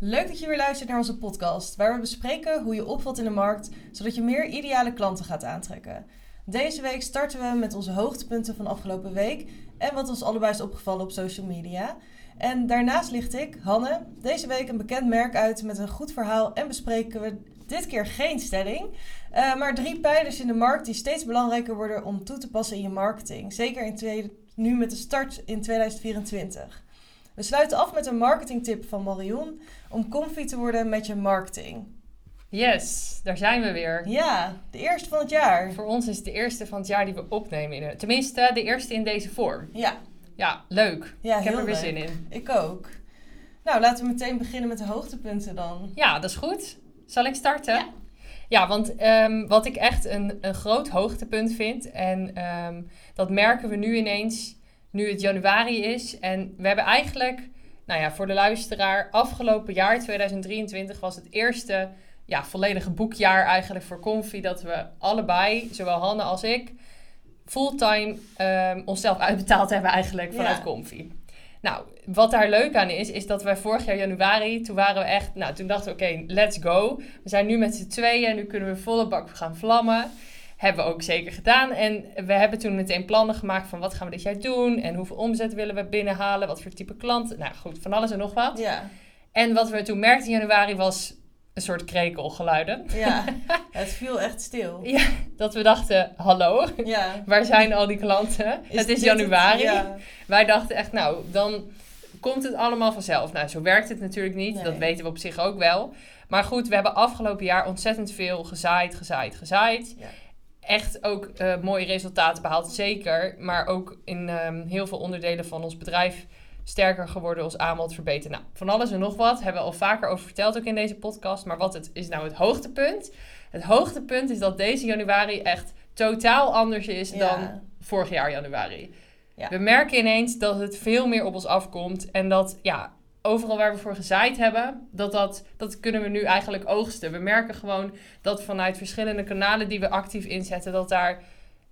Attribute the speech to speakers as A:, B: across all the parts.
A: Leuk dat je weer luistert naar onze podcast, waar we bespreken hoe je opvalt in de markt, zodat je meer ideale klanten gaat aantrekken. Deze week starten we met onze hoogtepunten van afgelopen week en wat ons allebei is opgevallen op social media. En daarnaast licht ik, Hanne, deze week een bekend merk uit met een goed verhaal en bespreken we dit keer geen stelling, eh, maar drie pijlers in de markt die steeds belangrijker worden om toe te passen in je marketing. Zeker in tweede- nu met de start in 2024. We sluiten af met een marketingtip van Marion om comfy te worden met je marketing.
B: Yes, daar zijn we weer.
A: Ja, de eerste van het jaar.
B: Voor ons is het de eerste van het jaar die we opnemen. In, tenminste, de eerste in deze vorm.
A: Ja,
B: Ja, leuk.
A: ja
B: ik
A: heel
B: heb er weer
A: leuk.
B: zin in.
A: Ik ook. Nou, laten we meteen beginnen met de hoogtepunten dan.
B: Ja, dat is goed. Zal ik starten? Ja, want ehm, wat ik echt een, een groot hoogtepunt vind... en ehm, dat merken we nu ineens, nu het januari is. En we hebben eigenlijk, nou ja, voor de luisteraar... afgelopen jaar, 2023, was het eerste... ja, volledige boekjaar eigenlijk voor Confi... dat we allebei, zowel Hanne als ik... fulltime ehm, onszelf uitbetaald hebben eigenlijk
A: Ja.
B: vanuit Comfy. Nou, wat daar leuk aan is, is dat wij vorig jaar januari, toen waren we echt, nou, toen dachten we, oké, let's go. We zijn nu met z'n tweeën, nu kunnen we volle bak gaan vlammen. Hebben we ook zeker gedaan. En we hebben toen meteen plannen gemaakt van wat gaan we dit jaar doen en hoeveel omzet willen we binnenhalen, wat voor type klant. Nou goed, van alles en nog wat.
A: Ja,
B: En wat we toen merkten in januari was een soort krekelgeluiden.
A: ja. het viel echt stil.
B: Ja, dat we dachten, hallo,
A: Ja.
B: waar zijn al die klanten? het is
A: dit
B: januari.
A: Ja.
B: Wij dachten echt, nou, dan komt het allemaal vanzelf. Nou, zo werkt het natuurlijk niet.
A: Nee.
B: Dat weten we op zich ook wel. Maar goed, we hebben afgelopen jaar ontzettend veel gezaaid, gezaaid, gezaaid.
A: Ja.
B: Echt ook eh, mooie resultaten behaald, zeker. Maar ook in ehm, heel veel onderdelen van ons bedrijf sterker geworden, ons aanbod verbeterd. Nou, van alles en nog wat hebben we al vaker over verteld, ook in deze podcast. Maar wat het, is nou het hoogtepunt? Het hoogtepunt is dat deze januari echt totaal anders is
A: Ja.
B: Dus dan vorig jaar januari.
A: Ja.
B: We merken ineens dat het veel meer op ons afkomt. En dat ja, overal waar we voor gezaaid hebben, dat, dat, dat kunnen we nu eigenlijk oogsten. We merken gewoon dat vanuit verschillende kanalen die we actief inzetten, dat daar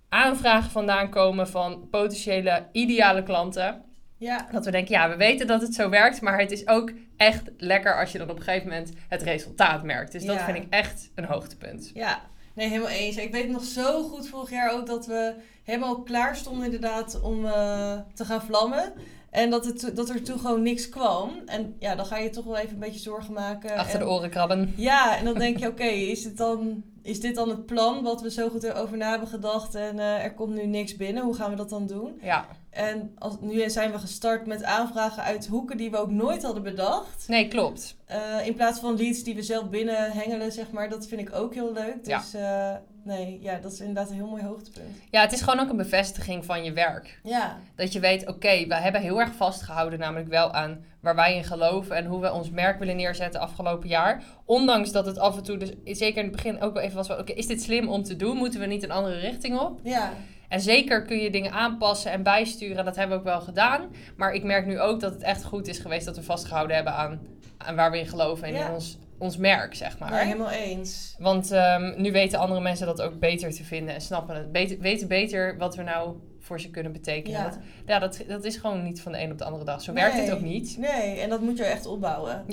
B: aanvragen vandaan komen van potentiële ideale klanten.
A: ja,
B: Dat we denken, ja, we weten dat het zo werkt, maar het is ook echt lekker als je dan op een gegeven moment het resultaat merkt. Dus dat
A: Ja.
B: vind ik echt een hoogtepunt.
A: ja. Nee, helemaal eens. Ik weet nog zo goed vorig jaar ook dat we helemaal klaar stonden inderdaad om eh, te gaan vlammen. En dat, het, to- dat er toen gewoon niks kwam. En ja, dan ga je toch wel even een beetje zorgen maken.
B: Achter
A: en-
B: de oren krabben.
A: Ja, en dan denk je, oké, is dit dan is dit dan het plan wat we zo goed over na hebben gedacht en eh, er komt nu niks binnen, hoe gaan we dat dan doen?
B: Ja.
A: En als, nu zijn we gestart met aanvragen uit hoeken die we ook nooit hadden bedacht.
B: Nee, klopt.
A: Eh, in plaats van leads die we zelf binnen hengelen, zeg maar, dat vind ik ook heel leuk.
B: Ja.
A: Dus eh, nee, ja, dat is inderdaad een heel mooi hoogtepunt.
B: Ja, het is gewoon ook een bevestiging van je werk.
A: Ja,
B: Dat je weet, oké, we hebben heel erg vastgehouden namelijk wel aan waar wij in geloven en hoe we ons merk willen neerzetten afgelopen jaar. Ondanks dat het af en toe, dus zeker in het begin ook wel even was van, oké, is dit slim om te doen? Moeten we niet een andere richting op?
A: ja,
B: En zeker kun je dingen aanpassen en bijsturen, dat hebben we ook wel gedaan. Maar ik merk nu ook dat het echt goed is geweest dat we vastgehouden hebben aan, aan waar we in geloven en
A: Ja.
B: in ons, ons merk, zeg maar.
A: nee, helemaal eens.
B: Want ehm, nu weten andere mensen dat ook beter te vinden en snappen het. Beter, weten beter wat we nou voor ze kunnen betekenen.
A: Ja.
B: Dat, ja, dat, dat is gewoon niet van de een op de andere dag. Zo werkt het
A: Nee.
B: ook niet.
A: Nee, en dat moet je echt opbouwen.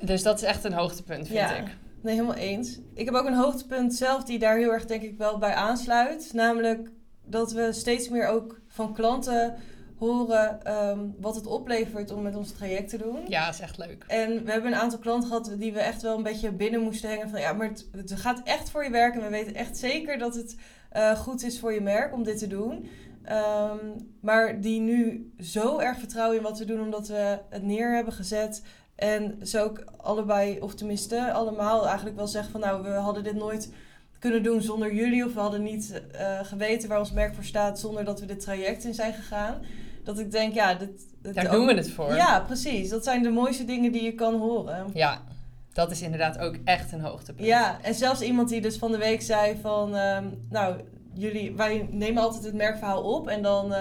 B: Dus dat is echt een hoogtepunt, vind
A: Ja.
B: ik.
A: Nee, helemaal eens. Ik heb ook een hoogtepunt zelf die daar heel erg denk ik wel bij aansluit. Namelijk dat we steeds meer ook van klanten horen ehm, wat het oplevert om met ons traject te doen.
B: Ja, is echt leuk.
A: En we hebben een aantal klanten gehad die we echt wel een beetje binnen moesten hangen. Van ja, maar het, het gaat echt voor je werk. En we weten echt zeker dat het eh, goed is voor je merk om dit te doen. Ehm, maar die nu zo erg vertrouwen in wat we doen, omdat we het neer hebben gezet. En ze ook allebei, of tenminste allemaal, eigenlijk wel zeggen van nou, we hadden dit nooit kunnen doen zonder jullie. Of we hadden niet eh, geweten waar ons merk voor staat zonder dat we dit traject in zijn gegaan. Dat ik denk, ja, dit, dit
B: Daar
A: ook-
B: doen we het voor.
A: ja, precies. Dat zijn de mooiste dingen die je kan horen.
B: Ja, dat is inderdaad ook echt een hoogtepunt.
A: Ja, en zelfs iemand die dus van de week zei van... ehm, nou, jullie, wij nemen altijd het merkverhaal op en dan eh,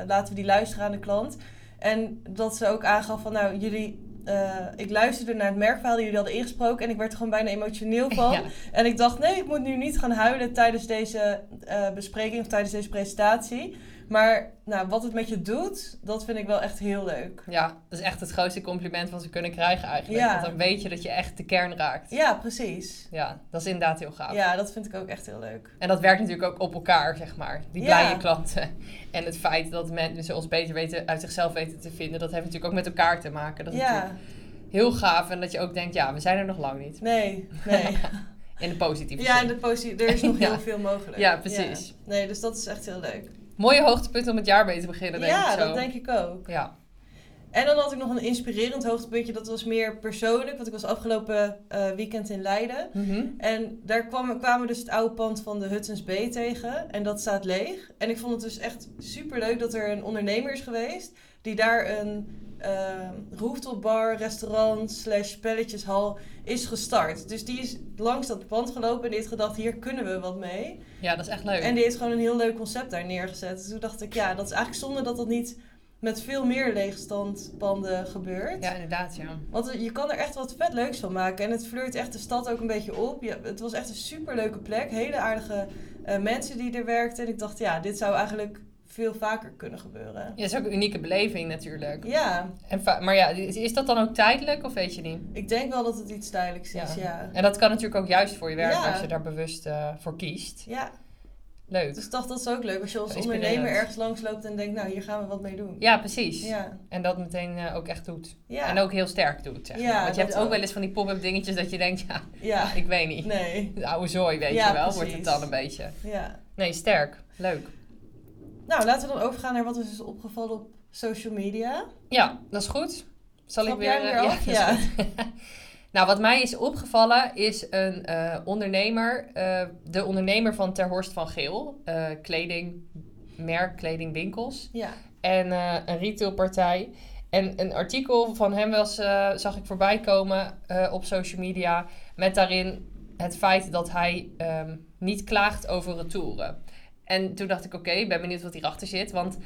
A: eh, laten we die luisteren aan de klant. En dat ze ook aangaf van, nou, jullie... eh, ik luisterde naar het merkverhaal die jullie hadden ingesproken en ik werd er gewoon bijna emotioneel van.
B: Ja.
A: En ik dacht, nee, ik moet nu niet gaan huilen tijdens deze eh, bespreking of tijdens deze presentatie. Maar nou, wat het met je doet, dat vind ik wel echt heel leuk.
B: Ja, dat is echt het grootste compliment wat ze kunnen krijgen eigenlijk.
A: Ja.
B: Want dan weet je dat je echt de kern raakt.
A: Ja, precies.
B: Ja, dat is inderdaad heel gaaf.
A: Ja, dat vind ik ook echt heel leuk.
B: En dat werkt natuurlijk ook op elkaar, zeg maar. Die
A: Ja.
B: blije klanten. En het feit dat mensen ons beter weten, uit zichzelf weten te vinden, dat heeft natuurlijk ook met elkaar te maken. Dat is natuurlijk
A: Ja,
B: heel gaaf. En dat je ook denkt, ja, we zijn er nog lang niet.
A: nee, nee.
B: In de positieve
A: Ja,
B: zin.
A: de posi- er is nog
B: Ja.
A: heel veel mogelijk.
B: Ja, precies.
A: Nee, dus dat is echt heel leuk.
B: Mooie hoogtepunt om het jaar mee te beginnen, denk
A: ja,
B: ik zo.
A: dat denk ik ook.
B: Ja,
A: En dan had ik nog een inspirerend hoogtepuntje. Dat was meer persoonlijk, want ik was afgelopen eh, weekend in Leiden.
B: Mhm.
A: En daar kwam, kwamen we dus het oude pand van de Huttons B tegen. En dat staat leeg. En ik vond het dus echt superleuk dat er een ondernemer is geweest. Die daar een eh, rooftopbar, restaurant, slash spelletjeshal is gestart. Dus die is langs dat pand gelopen en die heeft gedacht, hier kunnen we wat mee.
B: ja dat is echt leuk.
A: En die heeft gewoon een heel leuk concept daar neergezet. Dus toen dacht ik, ja, dat is eigenlijk zonde dat dat niet met veel meer leegstandpanden gebeurt.
B: Ja, inderdaad, ja.
A: Want je kan er echt wat vet leuks van maken. En het fleurt echt de stad ook een beetje op. Je- het was echt een superleuke plek. Hele aardige eh, mensen die er werkten. En ik dacht, ja, dit zou eigenlijk veel vaker kunnen gebeuren.
B: Ja, het is ook een unieke beleving natuurlijk.
A: Ja,
B: En va- maar ja, is is dat dan ook tijdelijk of weet je niet?
A: ik denk wel dat het iets tijdelijks is,
B: Ja.
A: ja.
B: En dat kan natuurlijk ook juist voor je werken
A: Ja.
B: als je daar bewust eh, voor kiest.
A: Ja,
B: Leuk.
A: dus ik dacht, dat is ook leuk. Als je als
B: Inspirerend.
A: ondernemer ergens langs loopt en denkt, nou, hier gaan we wat mee doen.
B: Ja, precies.
A: Ja,
B: En dat meteen eh, ook echt doet. En
A: ja,
B: ook heel sterk doet, zeg
A: Ja,
B: maar. Want je
A: dat
B: hebt ook
A: ook.
B: wel eens van die pop-up dingetjes dat je denkt, ja,
A: ja.
B: ik weet niet.
A: Nee,
B: De oude zooi, weet
A: Ja,
B: je wel, wordt
A: precies.
B: het dan een beetje.
A: ja.
B: Nee, sterk. Leuk.
A: Nou, laten we dan overgaan naar wat ons is dus opgevallen op social media.
B: Ja, dat is goed. Zal
A: Trap
B: ik
A: jij
B: weer...
A: hem
B: eh,
A: weer af?
B: dat is
A: Ja.
B: goed. nou, wat mij is opgevallen is een eh, ondernemer. eh, de ondernemer van Terhorst van Geel. eh kledingmerk, kledingwinkels.
A: Ja,
B: en eh, een retailpartij. En een artikel van hem was, eh, zag ik voorbij komen eh, op social media. Met daarin het feit dat hij ehm, niet klaagt over retouren. En toen dacht ik, oké, ik ben benieuwd wat hierachter zit. Want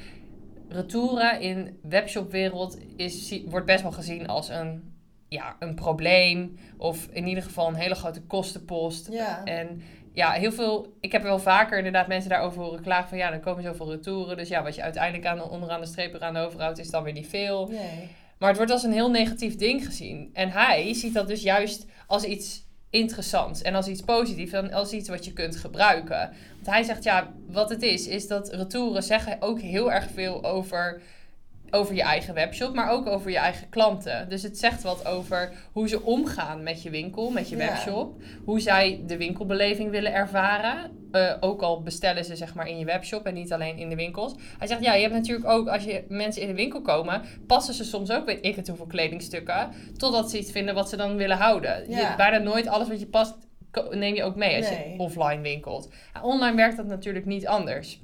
B: retouren in webshopwereld is, zie- wordt best wel gezien als een, ja, een probleem. Of in ieder geval een hele grote kostenpost.
A: ja.
B: En ja, Eh, heel veel. Ik heb wel vaker inderdaad mensen daarover horen klagen van ja, dan komen zoveel retouren. Dus ja, wat je uiteindelijk aan, onderaan de streep eraan overhoudt, is dan weer niet veel.
A: Nee,
B: Maar het wordt als een heel negatief ding gezien. En hij ziet dat dus juist als iets interessants en als iets positiefs en als iets wat je kunt gebruiken. Want hij zegt ja, wat het is, is dat retouren zeggen ook heel erg veel over. Over je eigen webshop, maar ook over je eigen klanten. Dus het zegt wat over hoe ze omgaan met je winkel, met je
A: Ja.
B: webshop. Hoe zij de winkelbeleving willen ervaren. Eh, ook al bestellen ze zeg maar in je webshop en niet alleen in de winkels. Hij zegt, ja, je hebt natuurlijk ook, als je mensen in de winkel komen, passen ze soms ook, weet ik het hoeveel kledingstukken, totdat ze iets vinden wat ze dan willen houden.
A: Ja.
B: Je, bijna nooit alles wat je past, ko- neem je ook mee als
A: Nee.
B: je offline winkelt. Ja, Online werkt dat natuurlijk niet anders.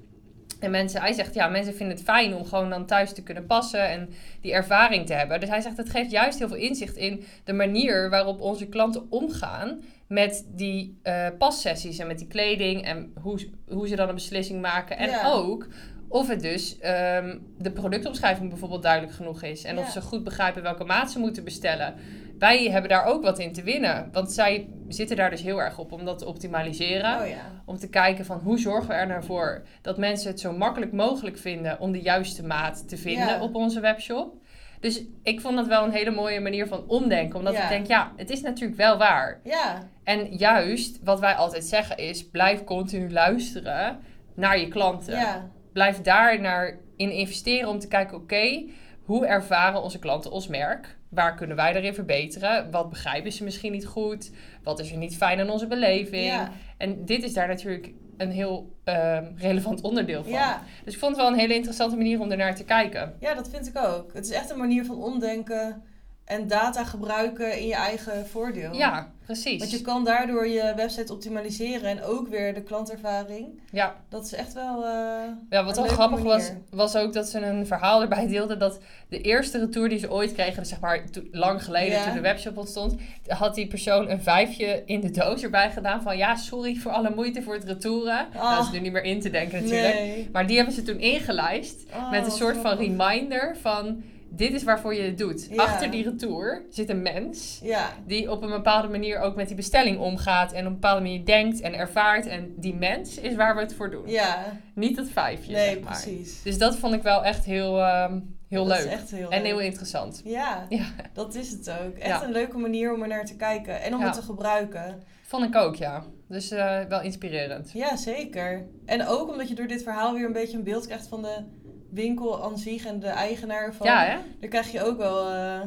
B: En mensen, hij zegt, ja, mensen vinden het fijn om gewoon dan thuis te kunnen passen en die ervaring te hebben. Dus hij zegt, het geeft juist heel veel inzicht in de manier waarop onze klanten omgaan met die eh, passessies en met die kleding en hoe, ze- hoe ze dan een beslissing maken. En
A: Ja.
B: ook of het dus ehm, de productomschrijving bijvoorbeeld duidelijk genoeg is. En
A: Ja.
B: of ze goed begrijpen welke maat ze moeten bestellen. Wij hebben daar ook wat in te winnen. Want zij zitten daar dus heel erg op om dat te optimaliseren.
A: oh ja.
B: Om te kijken van hoe zorgen we er nou voor dat mensen het zo makkelijk mogelijk vinden om de juiste maat te vinden
A: Ja.
B: op onze webshop. Dus ik vond dat wel een hele mooie manier van omdenken. Omdat
A: Ja.
B: ik denk, ja, het is natuurlijk wel waar.
A: Ja,
B: En juist wat wij altijd zeggen is: blijf continu luisteren naar je klanten.
A: ja,
B: Blijf daar naar in investeren om te kijken: oké, hoe ervaren onze klanten ons merk? Waar kunnen wij daarin verbeteren? Wat begrijpen ze misschien niet goed? Wat is er niet fijn aan onze beleving?
A: ja,
B: En dit is daar natuurlijk een heel ehm, relevant onderdeel van.
A: ja.
B: Dus ik vond het wel een hele interessante manier om ernaar te kijken.
A: Ja, dat vind ik ook. Het is echt een manier van omdenken en data gebruiken in je eigen voordeel.
B: Ja, precies.
A: Want je kan daardoor je website optimaliseren en ook weer de klantervaring.
B: Ja.
A: Dat is echt wel. eh,
B: Ja, wat
A: Een
B: wel
A: leuke
B: grappig was,
A: manier.
B: was ook dat ze een verhaal erbij deelden dat de eerste retour die ze ooit kregen, dus zeg maar to- lang geleden
A: Ja.
B: toen de webshop ontstond, had die persoon een vijfje in de doos erbij gedaan van ja, sorry voor alle moeite voor het retouren.
A: Ah.
B: Nou, dat is nu niet meer in te denken natuurlijk.
A: Nee.
B: Maar die hebben ze toen ingelijst
A: Oh,
B: met een
A: wat
B: soort van
A: grappig.
B: reminder van dit is waarvoor je het doet.
A: Ja.
B: Achter die retour zit een mens
A: Ja,
B: die op een bepaalde manier ook met die bestelling omgaat en op een bepaalde manier denkt en ervaart. En die mens is waar we het voor doen.
A: ja.
B: Niet dat vijfje,
A: Nee,
B: zeg maar.
A: precies.
B: Dus dat vond ik wel echt heel, ehm, heel
A: Dat
B: leuk.
A: is echt heel
B: en
A: leuk.
B: heel interessant.
A: Ja,
B: Ja,
A: dat is het ook. Echt
B: Ja.
A: een leuke manier om er naar te kijken en om
B: Ja.
A: het te gebruiken.
B: vond ik ook, ja. Dus eh, wel inspirerend.
A: Ja, zeker. En ook omdat je door dit verhaal weer een beetje een beeld krijgt van de winkel aan zich en de eigenaar. Van,
B: Ja, hè?
A: Daar krijg je ook wel eh,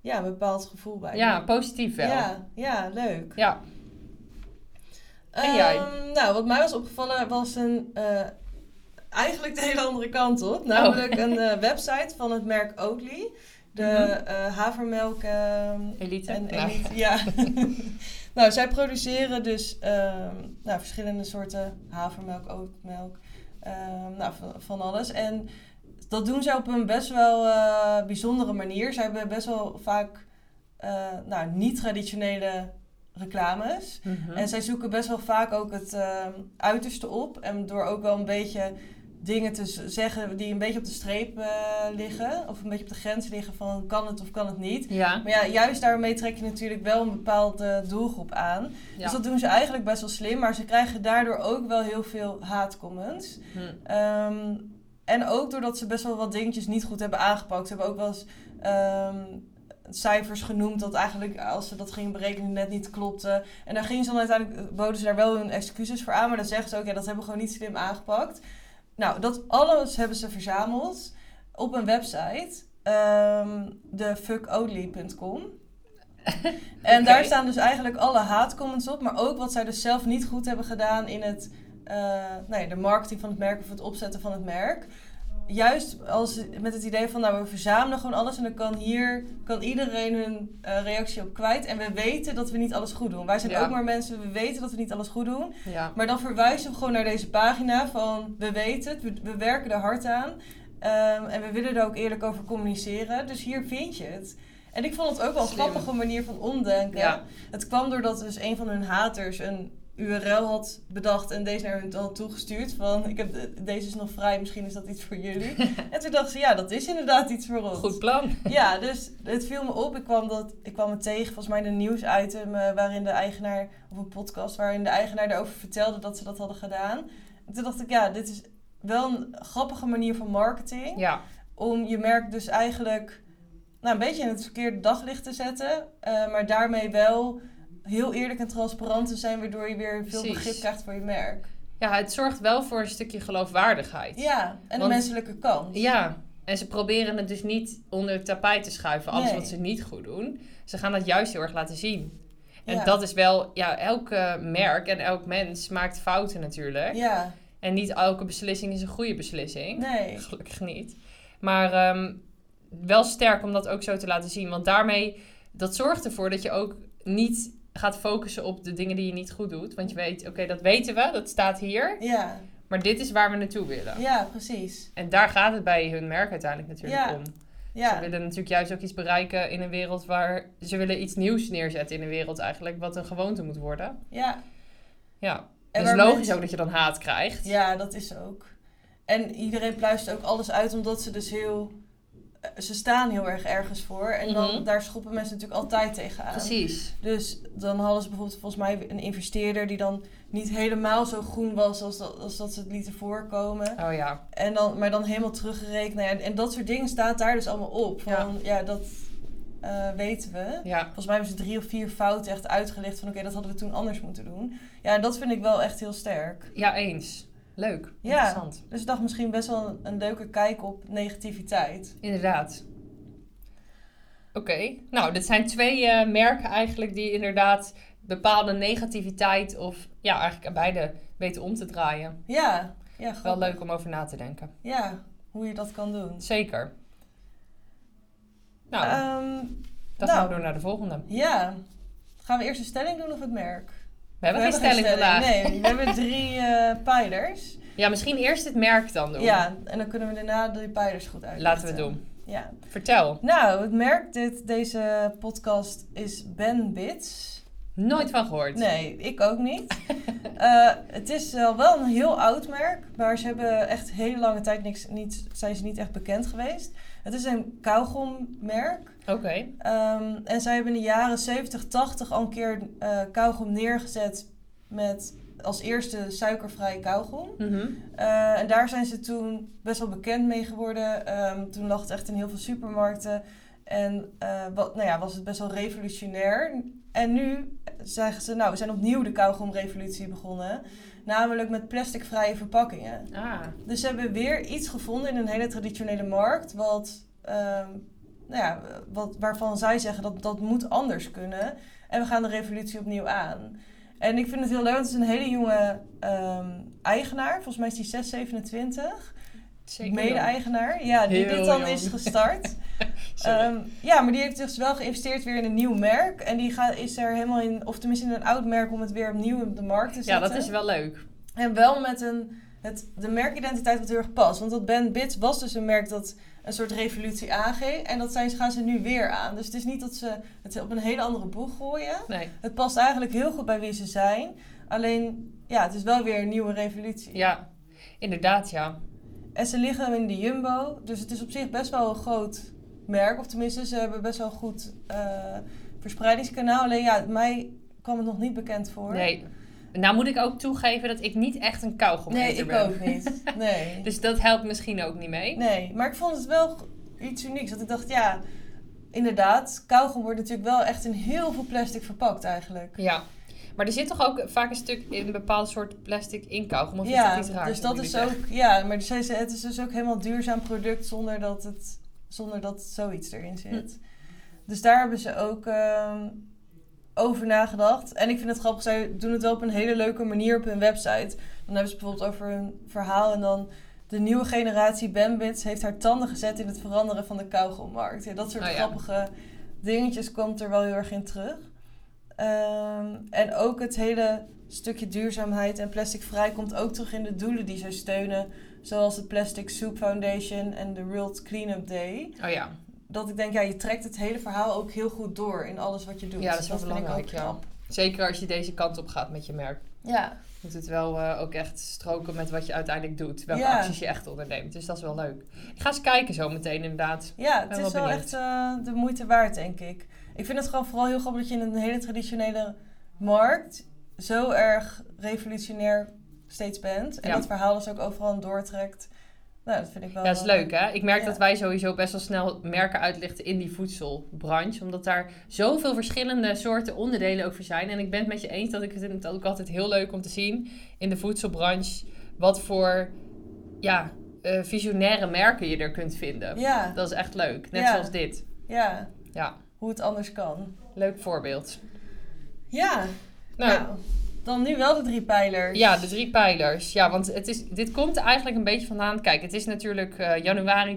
A: ja, een bepaald gevoel bij.
B: Ja, positief wel. Ja.
A: ja, ja, leuk.
B: Ja. En jij?
A: Ehm, nou, wat mij was opgevallen was een... eh, eigenlijk de hele andere kant
B: Oh.
A: op. Namelijk een eh, website van het merk Oatly. De
B: Mhm.
A: eh, havermelk... ehm,
B: Elite.
A: en
B: Nou,
A: elite, ja. nou, zij produceren dus ehm, nou, verschillende soorten havermelk, oatmelk, ehm, nou, van, van alles. En dat doen zij op een best wel eh, bijzondere manier. Zij hebben best wel vaak eh, nou, niet-traditionele reclames.
B: mhm.
A: En zij zoeken best wel vaak ook het ehm, uiterste op. En door ook wel een beetje dingen te z- zeggen die een beetje op de streep eh, liggen. Of een beetje op de grens liggen van kan het of kan het niet.
B: Ja.
A: Maar ja, juist daarmee trek je natuurlijk wel een bepaalde doelgroep aan. Dus
B: ja.
A: dat doen ze eigenlijk best wel slim, maar ze krijgen daardoor ook wel heel veel haatcomments.
B: Hm.
A: Ehm, en ook doordat ze best wel wat dingetjes niet goed hebben aangepakt. Ze hebben ook wel eens ehm, cijfers genoemd dat eigenlijk als ze dat gingen berekenen net niet klopte. En daar gingen ze dan uiteindelijk, eh, boden ze daar wel hun excuses voor aan, maar dan zeggen ze ook, ja, dat hebben we gewoon niet slim aangepakt. Nou, dat alles hebben ze verzameld op een website, ehm de fuckodly.com. En daar
B: Oké.
A: staan dus eigenlijk alle haatcomments op, maar ook wat zij dus zelf niet goed hebben gedaan in het, eh, nou ja, de marketing van het merk of het opzetten van het merk. Juist als, met het idee van, nou we verzamelen gewoon alles en dan kan hier kan iedereen hun eh, reactie op kwijt. En we weten dat we niet alles goed doen. Wij zijn
B: Ja.
A: ook maar mensen, we weten dat we niet alles goed doen.
B: ja.
A: Maar dan verwijzen we gewoon naar deze pagina van, we weten het, we, we werken er hard aan. Ehm, en we willen er ook eerlijk over communiceren. Dus hier vind je het. En ik vond het ook wel een
B: Slim.
A: grappige manier van omdenken.
B: Ja.
A: Het kwam doordat dus een van hun haters een URL had bedacht en deze naar hun had toegestuurd. Van ik heb de- deze is nog vrij, misschien is dat iets voor jullie. en toen dacht ze, ja, dat is inderdaad iets voor ons.
B: Goed plan.
A: Ja, dus het viel me op. Ik kwam, dat, ik kwam het tegen, volgens mij in een nieuwsitem eh, waarin de eigenaar, of een podcast waarin de eigenaar daarover vertelde dat ze dat hadden gedaan. En toen dacht ik, ja, dit is wel een grappige manier van marketing
B: Ja.
A: om je merk dus eigenlijk nou, een beetje in het verkeerde daglicht te zetten. eh, maar daarmee wel heel eerlijk en transparant te zijn, waardoor je weer veel
B: Precies.
A: begrip krijgt voor je merk.
B: ja, het zorgt wel voor een stukje geloofwaardigheid.
A: Ja, en de
B: Want-
A: menselijke kant.
B: Ja, en ze proberen het dus niet onder het tapijt te schuiven, alles
A: Nee.
B: wat ze niet goed doen. Ze gaan dat juist heel erg laten zien. En
A: Ja.
B: dat is wel, ja, elke merk en elk mens maakt fouten natuurlijk.
A: Ja,
B: En niet elke beslissing is een goede beslissing.
A: nee.
B: Gelukkig niet. Maar ehm, wel sterk om dat ook zo te laten zien. Want daarmee, dat zorgt ervoor dat je ook niet gaat focussen op de dingen die je niet goed doet. Want je weet, oké, dat weten we, dat staat hier.
A: Ja,
B: Maar dit is waar we naartoe willen.
A: ja, precies.
B: En daar gaat het bij hun merk uiteindelijk natuurlijk
A: Ja.
B: om. Ze
A: Ja,
B: willen natuurlijk juist ook iets bereiken in een wereld waar... Ze willen iets nieuws neerzetten in een wereld eigenlijk, wat een gewoonte moet worden.
A: ja.
B: Ja,
A: En
B: dus
A: waar
B: logisch
A: mensen-
B: ook dat je dan haat krijgt.
A: Ja, dat is ook. En iedereen pluist ook alles uit omdat ze dus heel... eh, Ze staan heel erg ergens voor. En dan,
B: Mhm.
A: daar schoppen mensen natuurlijk altijd tegenaan.
B: Precies.
A: Dus dan hadden ze bijvoorbeeld volgens mij een investeerder die dan niet helemaal zo groen was als dat, als dat ze het lieten voorkomen.
B: Oh ja,
A: En dan, maar dan helemaal teruggerekend. Nou ja, en dat soort dingen staat daar dus allemaal op. Van, ja. dat eh, weten we.
B: ja.
A: Volgens mij hebben ze drie of vier fouten echt uitgelegd van oké, dat hadden we toen anders moeten doen. Ja, en dat vind ik wel echt heel sterk.
B: Ja, eens. Leuk.
A: Ja.
B: Interessant.
A: Dus ik dacht misschien best wel een, een leuke kijk op negativiteit.
B: Inderdaad. Oké, nou, dit zijn twee eh, merken eigenlijk die inderdaad bepaalde negativiteit of ja, eigenlijk beide weten om te draaien.
A: Ja, ja,
B: Wel
A: grappig.
B: leuk om over na te denken.
A: Ja, hoe je dat kan doen.
B: Zeker. Nou,
A: Ehm,
B: dan
A: nou.
B: gaan we door naar de volgende.
A: ja, gaan we eerst een stelling doen of het merk?
B: We hebben geen stelling vandaag.
A: Nee, we hebben drie eh, pijlers.
B: Ja, misschien eerst het merk dan doen.
A: Ja, en dan kunnen we daarna de pijlers goed uitleggen.
B: Laten we het doen.
A: Ja.
B: Vertel.
A: Nou, het merk dit, deze podcast is Ben Bits.
B: Nooit van gehoord.
A: Nee, ik ook niet. Eh, het is wel wel een heel oud merk, maar ze hebben echt hele lange tijd niks, niet, zijn ze niet echt bekend geweest. Het is een kauwgommerk.
B: Oké.
A: Ehm, en zij hebben in de jaren 70, 80 al een keer eh kauwgom neergezet met als eerste suikervrij kauwgom.
B: Mhm.
A: Eh, en daar zijn ze toen best wel bekend mee geworden. Ehm, toen lag het echt in heel veel supermarkten. En eh, wat, nou ja, was het best wel revolutionair. En nu zeggen ze, nou, we zijn opnieuw de kauwgomrevolutie begonnen. Namelijk met plasticvrije verpakkingen.
B: Ah,
A: Dus ze hebben weer iets gevonden in een hele traditionele markt. Wat, ehm, nou ja, wat, waarvan zij zeggen dat dat moet anders kunnen. En we gaan de revolutie opnieuw aan. En ik vind het heel leuk, want het is een hele jonge ehm, eigenaar. Volgens mij is die 6, 27.
B: zeker.
A: Mede-eigenaar. Ja, die
B: Heel
A: dit dan
B: jong.
A: is gestart.
B: Sorry.
A: Ehm, ja, maar die heeft dus wel geïnvesteerd weer in een nieuw merk. En die gaat, is er helemaal in, of tenminste in een oud merk, om het weer opnieuw op de markt te zetten.
B: ja, dat is wel leuk.
A: En wel met een, het, de merkidentiteit wat heel erg past. Want dat Ben Bits was dus een merk dat een soort revolutie aangeeft. En dat zijn, gaan ze nu weer aan. Dus het is niet dat ze het op een hele andere boeg gooien.
B: Nee.
A: Het past eigenlijk heel goed bij wie ze zijn. Alleen, ja, het is wel weer een nieuwe revolutie.
B: Ja, inderdaad, ja.
A: En ze liggen in de Jumbo. Dus het is op zich best wel een groot merk. Of tenminste, ze hebben best wel een goed eh, verspreidingskanaal. Alleen ja, mij kwam het nog niet bekend voor.
B: Nee. Nou moet ik ook toegeven dat ik niet echt een
A: Nee,
B: kauwgometer
A: ik
B: ben.
A: ook niet. Nee.
B: Dus dat helpt misschien ook niet mee.
A: Nee, maar ik vond het wel iets unieks. Want ik dacht, ja, inderdaad, kauwgom wordt natuurlijk wel echt in heel veel plastic verpakt eigenlijk.
B: Ja. Maar er zit toch ook vaak een stuk in een bepaald soort plastic in kauwgom? Of is
A: ja,
B: dat iets raars?
A: dus dat
B: wat
A: is
B: jullie
A: ook, ja, maar ze- ze- het is dus ook helemaal duurzaam product zonder dat het, zonder dat zoiets erin zit.
B: Hm.
A: Dus daar hebben ze ook ehm, over nagedacht. En ik vind het grappig, zij doen het wel op een hele leuke manier op hun website. Dan hebben ze bijvoorbeeld over hun verhaal en dan... De nieuwe generatie Bambits heeft haar tanden gezet in het veranderen van de kauwgommarkt. Ja, dat soort
B: Oh ja.
A: grappige dingetjes komt er wel heel erg in terug. Ehm, en ook het hele stukje duurzaamheid en plasticvrij komt ook terug in de doelen die zij steunen. Zoals de Plastic Soup Foundation en de World Cleanup Day.
B: zeggen? Oh ja.
A: Dat ik denk, ja, je trekt het hele verhaal ook heel goed door in alles wat je doet.
B: Ja, dat is wel
A: vind ik
B: belangrijk,
A: ook
B: ja.
A: knap.
B: Zeker als je deze kant op gaat met je merk.
A: Ja,
B: moet het wel eh, ook echt stroken met wat je uiteindelijk doet. Welke
A: Ja.
B: acties je echt onderneemt. Dus dat is wel leuk. Ik ga eens kijken zo meteen inderdaad.
A: Ja, het
B: ben
A: is
B: wel
A: wel
B: benieuwd.
A: echt eh, de moeite waard, denk ik. Ik vind het gewoon vooral heel grappig dat je in een hele traditionele markt zo erg revolutionair steeds bent. En
B: Ja.
A: dat verhaal dus ook overal aan doortrekt. Nou, dat vind ik wel...
B: Ja, dat is leuk hè. Ik merk
A: Ja.
B: dat wij sowieso best wel snel merken uitlichten in die voedselbranche. Omdat daar zoveel verschillende soorten onderdelen over zijn. En ik ben het met je eens dat ik het ook altijd heel leuk om te zien in de voedselbranche. Wat voor ja, eh, visionaire merken je er kunt vinden.
A: eh, Ja,
B: Dat is echt leuk. Net
A: Ja.
B: zoals dit.
A: ja.
B: Ja.
A: Hoe het anders kan.
B: Leuk voorbeeld.
A: Ja,
B: Nou,
A: nou. Dan nu wel de drie pijlers.
B: Ja, dus- de drie pijlers. Ja, want het is, dit komt eigenlijk een beetje vandaan. Kijk, het is natuurlijk eh, januari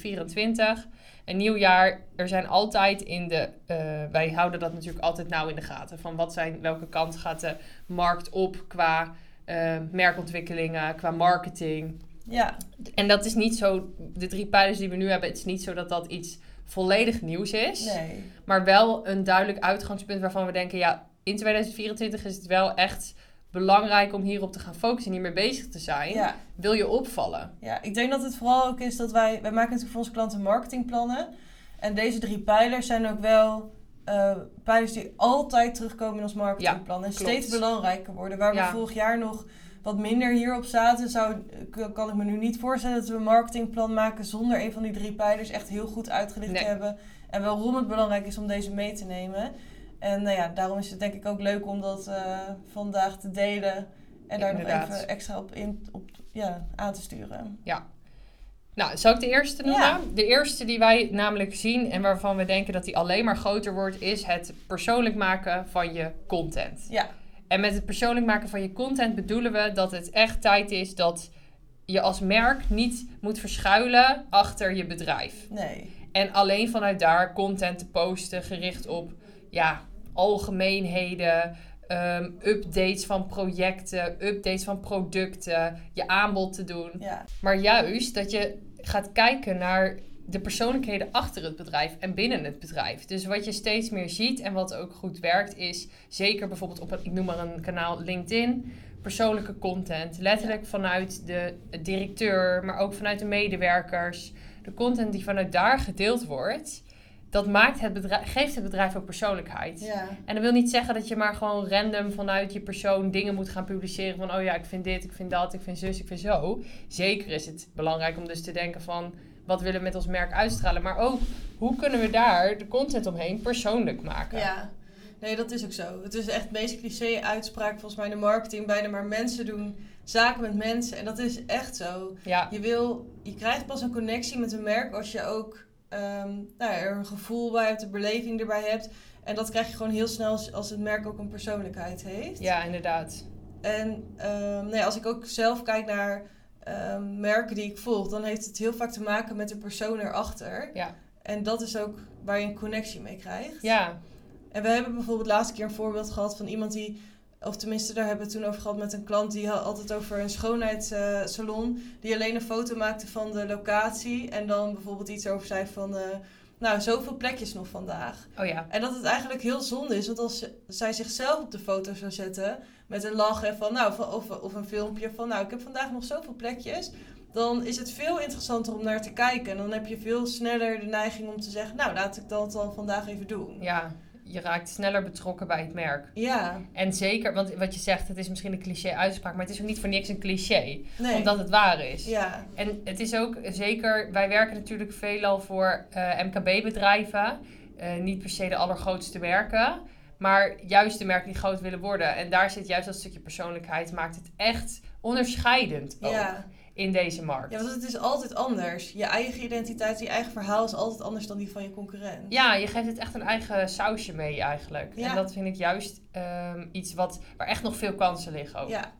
B: 2024. Een nieuw jaar. Er zijn altijd in de. eh, wij houden dat natuurlijk altijd nauw in de gaten. Van wat zijn, welke kant gaat de markt op qua eh, merkontwikkelingen, qua marketing.
A: Ja,
B: En dat is niet zo. De drie pijlers die we nu hebben, het is niet zo dat dat iets volledig nieuws is.
A: nee.
B: Maar wel een duidelijk uitgangspunt waarvan we denken, ja, in 2024 is het wel echt belangrijk om hierop te gaan focussen en hiermee bezig te zijn.
A: Ja.
B: Wil je opvallen?
A: Ja, ik denk dat het vooral ook is dat wij... Wij maken natuurlijk voor onze klanten marketingplannen. En deze drie pijlers zijn ook wel eh, pijlers die altijd terugkomen in ons marketingplan. en
B: klopt.
A: steeds belangrijker worden. Waar
B: Ja.
A: we vorig jaar nog wat minder hierop zaten... Zou, k- kan ik me nu niet voorstellen dat we een marketingplan maken... zonder een van die drie pijlers echt heel goed uitgelicht
B: Nee.
A: te hebben. En waarom het belangrijk is om deze mee te nemen. En nou ja, daarom is het denk ik ook leuk om dat eh, vandaag te delen... En daar
B: Inderdaad.
A: nog even extra op, in, op ja, aan te sturen.
B: Nou, zou ik de eerste noemen?
A: Ja.
B: De eerste die wij namelijk zien en waarvan we denken dat die alleen maar groter wordt, is het persoonlijk maken van je content.
A: Ja.
B: En met het persoonlijk maken van je content bedoelen we dat het echt tijd is dat je als merk niet moet verschuilen achter je bedrijf.
A: Nee.
B: En alleen vanuit daar content te posten gericht op ja, algemeenheden, ehm, updates van projecten, updates van producten, je aanbod te doen.
A: Ja.
B: Maar juist dat je gaat kijken naar de persoonlijkheden achter het bedrijf en binnen het bedrijf. Dus wat je steeds meer ziet en wat ook goed werkt, is zeker bijvoorbeeld op, een- ik noem maar een kanaal LinkedIn, persoonlijke content. Letterlijk vanuit de directeur, maar ook vanuit de medewerkers. De content die vanuit daar gedeeld wordt, dat maakt het bedrijf, geeft het bedrijf ook persoonlijkheid.
A: Ja.
B: En dat wil niet zeggen dat je maar gewoon random vanuit je persoon dingen moet gaan publiceren. Van oh ja, ik vind dit, ik vind dat, ik vind zus, ik vind zo. Zeker is het belangrijk om dus te denken van wat willen we met ons merk uitstralen. Maar ook hoe kunnen we daar de content omheen persoonlijk maken.
A: Ja, nee, dat is ook zo. Het is echt meest cliché uitspraak volgens mij in de marketing. Bijna maar mensen doen zaken met mensen. En dat is echt zo.
B: Ja,
A: Je, wil, je krijgt pas een connectie met een merk als je ook ehm, nou ja, er een gevoel bij hebt, een beleving erbij hebt. En dat krijg je gewoon heel snel als, als het merk ook een persoonlijkheid heeft.
B: ja inderdaad.
A: En ehm, nee, als ik ook zelf kijk naar ehm, merken die ik volg, dan heeft het heel vaak te maken met de persoon erachter.
B: Ja.
A: En dat is ook waar je een connectie mee krijgt.
B: Ja,
A: En we hebben bijvoorbeeld laatste keer een voorbeeld gehad van iemand die, of tenminste daar hebben we het toen over gehad met een klant die had altijd over een schoonheidssalon, die alleen een foto maakte van de locatie en dan bijvoorbeeld iets over zei van, eh, nou zoveel plekjes nog vandaag.
B: oh ja.
A: En dat het eigenlijk heel zonde is, want als ze- zij zichzelf op de foto zou zetten met een lach en van, nou, van- of, of een filmpje van, nou ik heb vandaag nog zoveel plekjes. Dan is het veel interessanter om naar te kijken. En dan heb je veel sneller de neiging om te zeggen: Nou, laat ik dat dan vandaag even doen.
B: Ja, je raakt sneller betrokken bij het merk.
A: Ja,
B: En zeker, want wat je zegt, het is misschien een cliché uitspraak, maar het is ook niet voor niks een cliché.
A: nee.
B: Omdat het waar is.
A: Ja,
B: En het is ook zeker, wij werken natuurlijk veelal voor eh, MKB-bedrijven. eh, niet per se de allergrootste merken, maar juist de merken die groot willen worden. En daar zit juist dat stukje persoonlijkheid, maakt het echt onderscheidend ook
A: ja.
B: in deze markt.
A: ja,
B: Ja,
A: want het is altijd anders. Je eigen identiteit, je eigen verhaal is altijd anders dan die van je concurrent.
B: je geeft het echt een eigen sausje mee eigenlijk.
A: Ja.
B: En dat vind ik juist ehm, iets wat, waar echt nog veel kansen liggen ook.
A: Oh. Ja.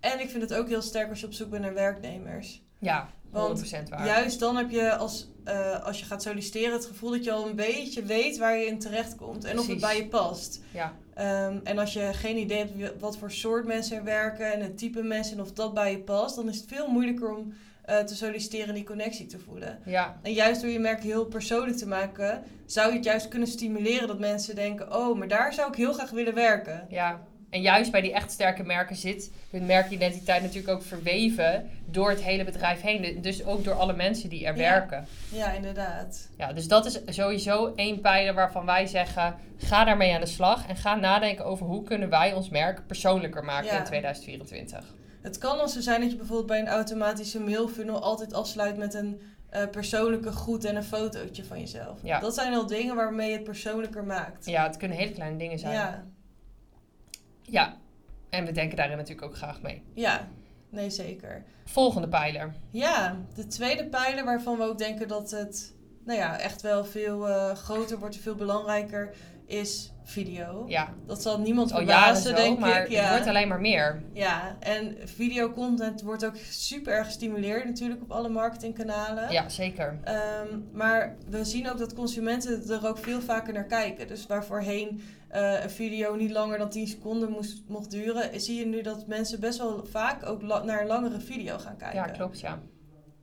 A: En ik vind het ook heel sterk als je op zoek bent naar werknemers.
B: Ja, 100%
A: Want
B: waar.
A: Juist dan heb je als, eh, als je gaat solliciteren het gevoel dat je al een beetje weet waar je in terecht komt en of het
B: Precies.
A: bij je past.
B: Ja.
A: Ehm, en als je geen idee hebt wie- wat voor soort mensen er werken en het type mensen en of dat bij je past, dan is het veel moeilijker om eh, te solliciteren en die connectie te voelen.
B: Ja,
A: En juist door je merk heel persoonlijk te maken, zou je het juist kunnen stimuleren dat mensen denken: oh, maar daar zou ik heel graag willen werken.
B: ja. En juist bij die echt sterke merken zit hun merkidentiteit natuurlijk ook verweven door het hele bedrijf heen. Dus ook door alle mensen die er
A: Ja.
B: werken.
A: Ja, inderdaad.
B: Ja, dus dat is sowieso één pijler waarvan wij zeggen: ga daarmee aan de slag en ga nadenken over hoe kunnen wij ons merk persoonlijker maken
A: Ja.
B: in 2024.
A: Het kan wel zo zijn dat je bijvoorbeeld bij een automatische mailfunnel altijd afsluit met een eh, persoonlijke groet en een fotootje van jezelf.
B: Ja.
A: Dat zijn al dingen waarmee je het persoonlijker maakt.
B: Ja, het kunnen hele kleine dingen zijn.
A: ja.
B: Ja. en we denken daarin natuurlijk ook graag mee.
A: Ja. nee zeker.
B: Volgende pijler.
A: Ja, de tweede pijler waarvan we ook denken dat het nou ja, echt wel veel eh, groter wordt en veel belangrijker is video.
B: Oh Ja,
A: Dat zal niemand
B: al jaren
A: verbazen,
B: zo,
A: denk
B: maar
A: ik. Ja.
B: het wordt alleen maar meer.
A: ja, en videocontent wordt ook super erg gestimuleerd natuurlijk op alle marketingkanalen.
B: Ja, zeker.
A: Ehm, maar we zien ook dat consumenten er ook veel vaker naar kijken. Dus waar voorheen eh, een video niet langer dan 10 seconden moest, mocht duren, zie je nu dat mensen best wel vaak ook la- naar een langere video gaan kijken.
B: Ja, klopt, ja.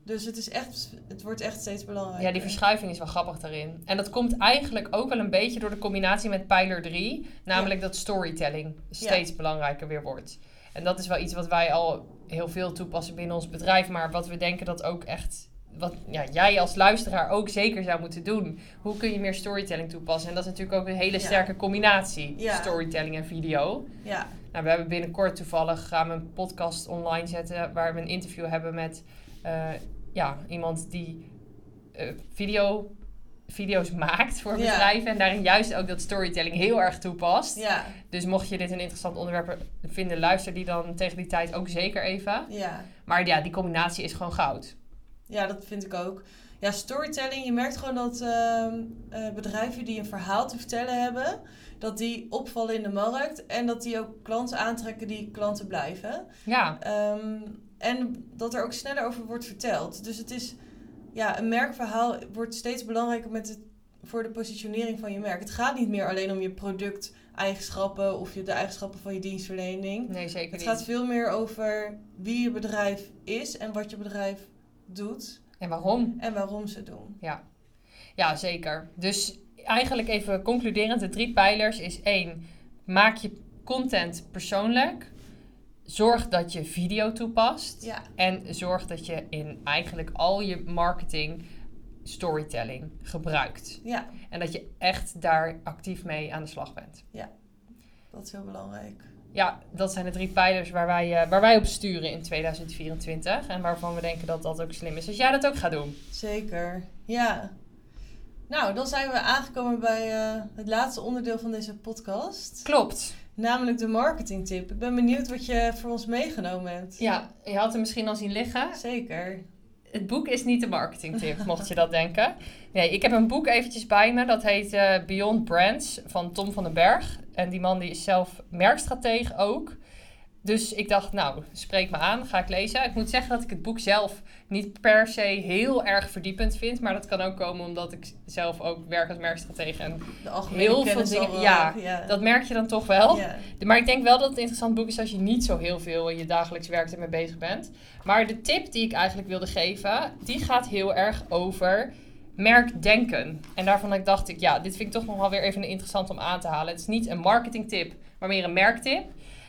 A: Dus het, is echt, het wordt echt steeds belangrijker.
B: Ja, die verschuiving is wel grappig daarin. En dat komt eigenlijk ook wel een beetje door de combinatie met pijler 3. Namelijk dat storytelling steeds belangrijker weer wordt. En dat is wel iets wat wij al heel veel toepassen binnen ons bedrijf. Maar wat we denken dat ook echt... Wat ja, jij als luisteraar ook zeker zou moeten doen. Hoe kun je meer storytelling toepassen? En dat is natuurlijk ook een hele
A: Ja.
B: sterke combinatie.
A: Ja.
B: Storytelling en video.
A: Ja,
B: Nou, we hebben binnenkort toevallig gaan we een podcast online zetten waar we een interview hebben met eh, ja, iemand die eh, video, video's maakt voor
A: Ja.
B: bedrijven en daarin juist ook dat storytelling heel erg toepast.
A: ja,
B: Dus mocht je dit een interessant onderwerp vinden, luister die dan tegen die tijd ook zeker even.
A: ja.
B: Maar ja, die combinatie is gewoon goud.
A: Ja, dat vind ik ook. Ja, storytelling. Je merkt gewoon dat ehm, eh, bedrijven die een verhaal te vertellen hebben, dat die opvallen in de markt en dat die ook klanten aantrekken die klanten blijven.
B: Ja,
A: Ehm, en dat er ook sneller over wordt verteld. Dus het is, ja, een merkverhaal wordt steeds belangrijker met het, voor de positionering van je merk. Het gaat niet meer alleen om je product-eigenschappen of je, de eigenschappen van je dienstverlening.
B: nee zeker
A: Het
B: niet.
A: gaat veel meer over wie je bedrijf is en wat je bedrijf doet.
B: En waarom?
A: en waarom ze doen.
B: Ja, zeker. Dus eigenlijk even concluderend, de drie pijlers is één, maak je content persoonlijk. Zorg dat je video toepast.
A: Ja.
B: En zorg dat je in eigenlijk al je marketing storytelling gebruikt.
A: Ja,
B: En dat je echt daar actief mee aan de slag bent.
A: dat is heel belangrijk.
B: Ja, dat zijn de drie pijlers waar wij, eh, waar wij op sturen in 2024. En waarvan we denken dat dat ook slim is. Als jij dat ook gaat doen.
A: Zeker, ja. Nou, dan zijn we aangekomen bij eh, het laatste onderdeel van deze podcast.
B: Klopt.
A: Namelijk de marketingtip. Ik ben benieuwd wat je voor ons meegenomen hebt.
B: Ja, je had hem misschien al zien liggen.
A: Zeker.
B: Het boek is niet de marketingtip, mocht je dat denken. Nee, ik heb een boek eventjes bij me. Dat heet eh, Beyond Brands van Tom van den Berg. En die man die is zelf merkstratege ook. Dus ik dacht, nou, spreek me aan, ga ik lezen. Ik moet zeggen dat ik het boek zelf niet per se heel erg verdiepend vind. Maar dat kan ook komen omdat ik zelf ook werk als merkstratege. En
A: De algemene
B: Heel
A: kennis
B: veel dingen-
A: al
B: ja,
A: wel, ja.
B: dat merk je dan toch wel.
A: Ja.
B: De- Maar ik denk wel dat het een interessant boek is als je niet zo heel veel in je dagelijks werk ermee bezig bent. Maar de tip die ik eigenlijk wilde geven, die gaat heel erg over merkdenken. En daarvan ik dacht ik, ja, dit vind ik toch nog wel weer even interessant om aan te halen. Het is niet een marketingtip, maar meer een merktip.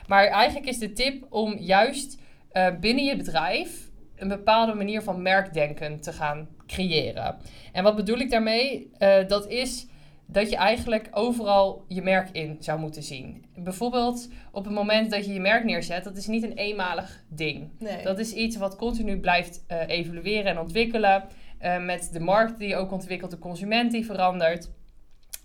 B: Maar eigenlijk is de tip om juist eh, binnen je bedrijf een bepaalde manier van merkdenken te gaan creëren. En wat bedoel ik daarmee? Eh, dat is dat je eigenlijk overal je merk in zou moeten zien. Bijvoorbeeld op het moment dat je je merk neerzet, dat is niet een eenmalig ding.
A: Nee.
B: Dat is iets wat continu blijft eh, evolueren en ontwikkelen. eh, met de markt die ook ontwikkelt, de consument die verandert.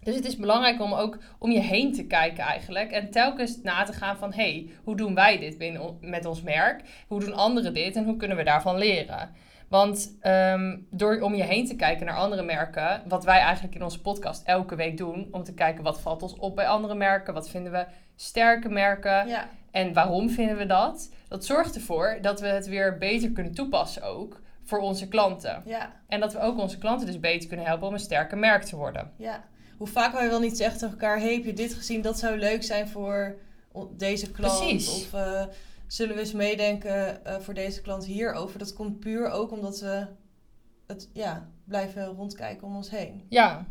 B: Dus het is belangrijk om ook om je heen te kijken eigenlijk. En telkens na te gaan van, hé, hey, hoe doen wij dit binnen, on- met ons merk? Hoe doen anderen dit en hoe kunnen we daarvan leren? Want ehm, door om je heen te kijken naar andere merken, wat wij eigenlijk in onze podcast elke week doen, om te kijken wat valt ons op bij andere merken, wat vinden we sterke merken,
A: ja,
B: en waarom vinden we dat? Dat zorgt ervoor dat we het weer beter kunnen toepassen ook voor onze klanten.
A: ja,
B: En dat we ook onze klanten dus beter kunnen helpen om een sterker merk te worden.
A: ja. Hoe vaak wij wel niet zeggen tegen elkaar... hey, heb je dit gezien? Dat zou leuk zijn voor o- deze klant.
B: Precies.
A: Of eh, zullen we eens meedenken eh, voor deze klant hierover? Dat komt puur ook omdat we het ja, blijven rondkijken om ons heen.
B: Ja,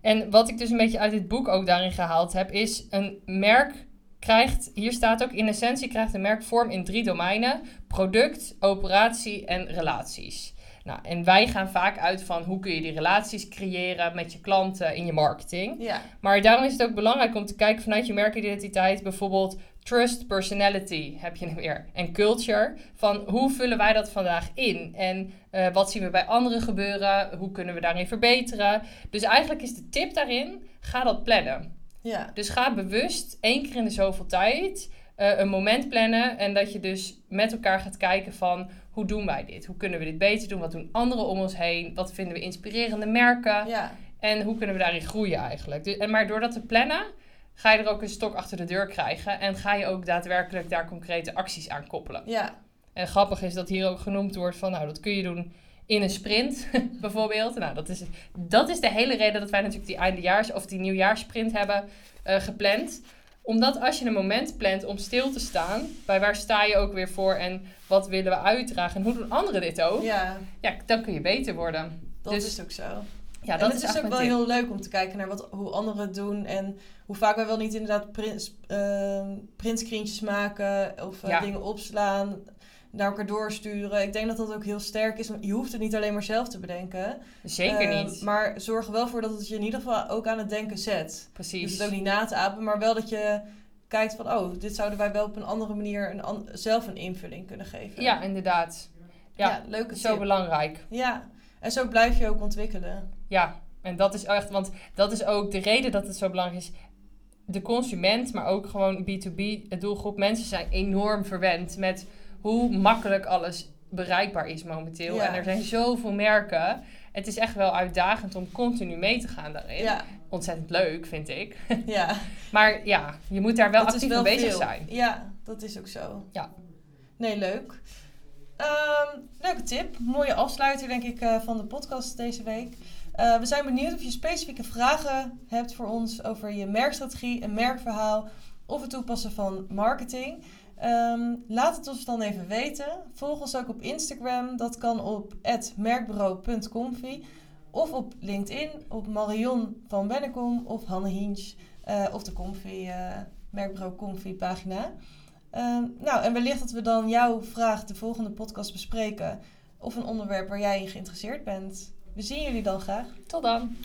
B: en wat ik dus een beetje uit dit boek ook daarin gehaald heb, is een merk krijgt, hier staat ook, in essentie krijgt een merk vorm in drie domeinen: product, operatie en relaties. Nou, en wij gaan vaak uit van hoe kun je die relaties creëren met je klanten in je marketing.
A: Ja,
B: Maar daarom is het ook belangrijk om te kijken vanuit je merkidentiteit, bijvoorbeeld trust, personality heb je hem weer, en culture, van hoe vullen wij dat vandaag in? En eh, wat zien we bij anderen gebeuren? Hoe kunnen we daarin verbeteren? Dus eigenlijk is de tip daarin, ga dat plannen.
A: ja,
B: Dus ga bewust één keer in de zoveel tijd eh, een moment plannen en dat je dus met elkaar gaat kijken van hoe doen wij dit? Hoe kunnen we dit beter doen? Wat doen anderen om ons heen? Wat vinden we inspirerende merken?
A: ja.
B: En hoe kunnen we daarin groeien eigenlijk? Dus, en maar door dat te plannen, ga je er ook een stok achter de deur krijgen. En ga je ook daadwerkelijk daar concrete acties aan koppelen.
A: Ja,
B: En grappig is dat hier ook genoemd wordt van, nou, dat kun je doen in een sprint bijvoorbeeld. Nou, dat is, dat is de hele reden dat wij natuurlijk die eindejaars- of die nieuwjaarssprint hebben eh, gepland. Omdat als je een moment plant om stil te staan, bij waar sta je ook weer voor en wat willen we uitdragen en hoe doen anderen dit ook, ja,
A: ja
B: dan kun je beter worden.
A: dat
B: Dus-
A: is ook zo.
B: Ja,
A: en
B: dat
A: het
B: is,
A: is, ook
B: eigenlijk
A: wel
B: mijn tip.
A: heel leuk om te kijken naar wat, hoe anderen het doen. En hoe vaak wij wel niet inderdaad prins, ehm, printscreentjes maken of eh,
B: Ja.
A: dingen opslaan, naar elkaar doorsturen. Ik denk dat dat ook heel sterk is. want Je hoeft het niet alleen maar zelf te bedenken.
B: Zeker
A: Ehm,
B: niet.
A: Maar zorg er wel voor dat het je in ieder geval ook aan het denken zet. Je hoeft
B: Precies.
A: het ook niet na te apen, maar wel dat je kijkt van... oh, dit zouden wij wel op een andere manier een an- zelf een invulling kunnen geven.
B: Ja, inderdaad.
A: ja,
B: ja.
A: leuke
B: Zo
A: tip.
B: belangrijk.
A: Ja, en zo blijf je ook ontwikkelen.
B: Ja, en dat is echt, want dat is ook de reden dat het zo belangrijk is. De consument, maar ook gewoon B2B het doelgroep, mensen zijn enorm verwend met hoe makkelijk alles bereikbaar is momenteel.
A: Ja.
B: En er zijn zoveel merken. Het is echt wel uitdagend om continu mee te gaan daarin.
A: Ja,
B: Ontzettend leuk, vind ik.
A: ja.
B: Maar ja, je moet daar wel
A: dat is
B: actief
A: wel
B: mee bezig
A: veel.
B: zijn.
A: Ja, dat is ook zo.
B: Ja.
A: Nee, leuk. Ehm, leuke tip. Mooie afsluiter, denk ik, eh, van de podcast deze week. Eh, we zijn benieuwd of je specifieke vragen hebt voor ons over je merkstrategie en merkverhaal. of het toepassen van marketing. Ehm, laat het ons dan even weten. Volg ons ook op Instagram. Dat kan op merkbureau.comfy. Of op LinkedIn op Marion van Bennekom of Hanne Hinch. eh, of de Comfy, eh, Merkbureau Comfy pagina. Ehm, nou, en wellicht dat we dan jouw vraag de volgende podcast bespreken. Of een onderwerp waar jij in geïnteresseerd bent. We zien jullie dan graag.
B: Tot dan!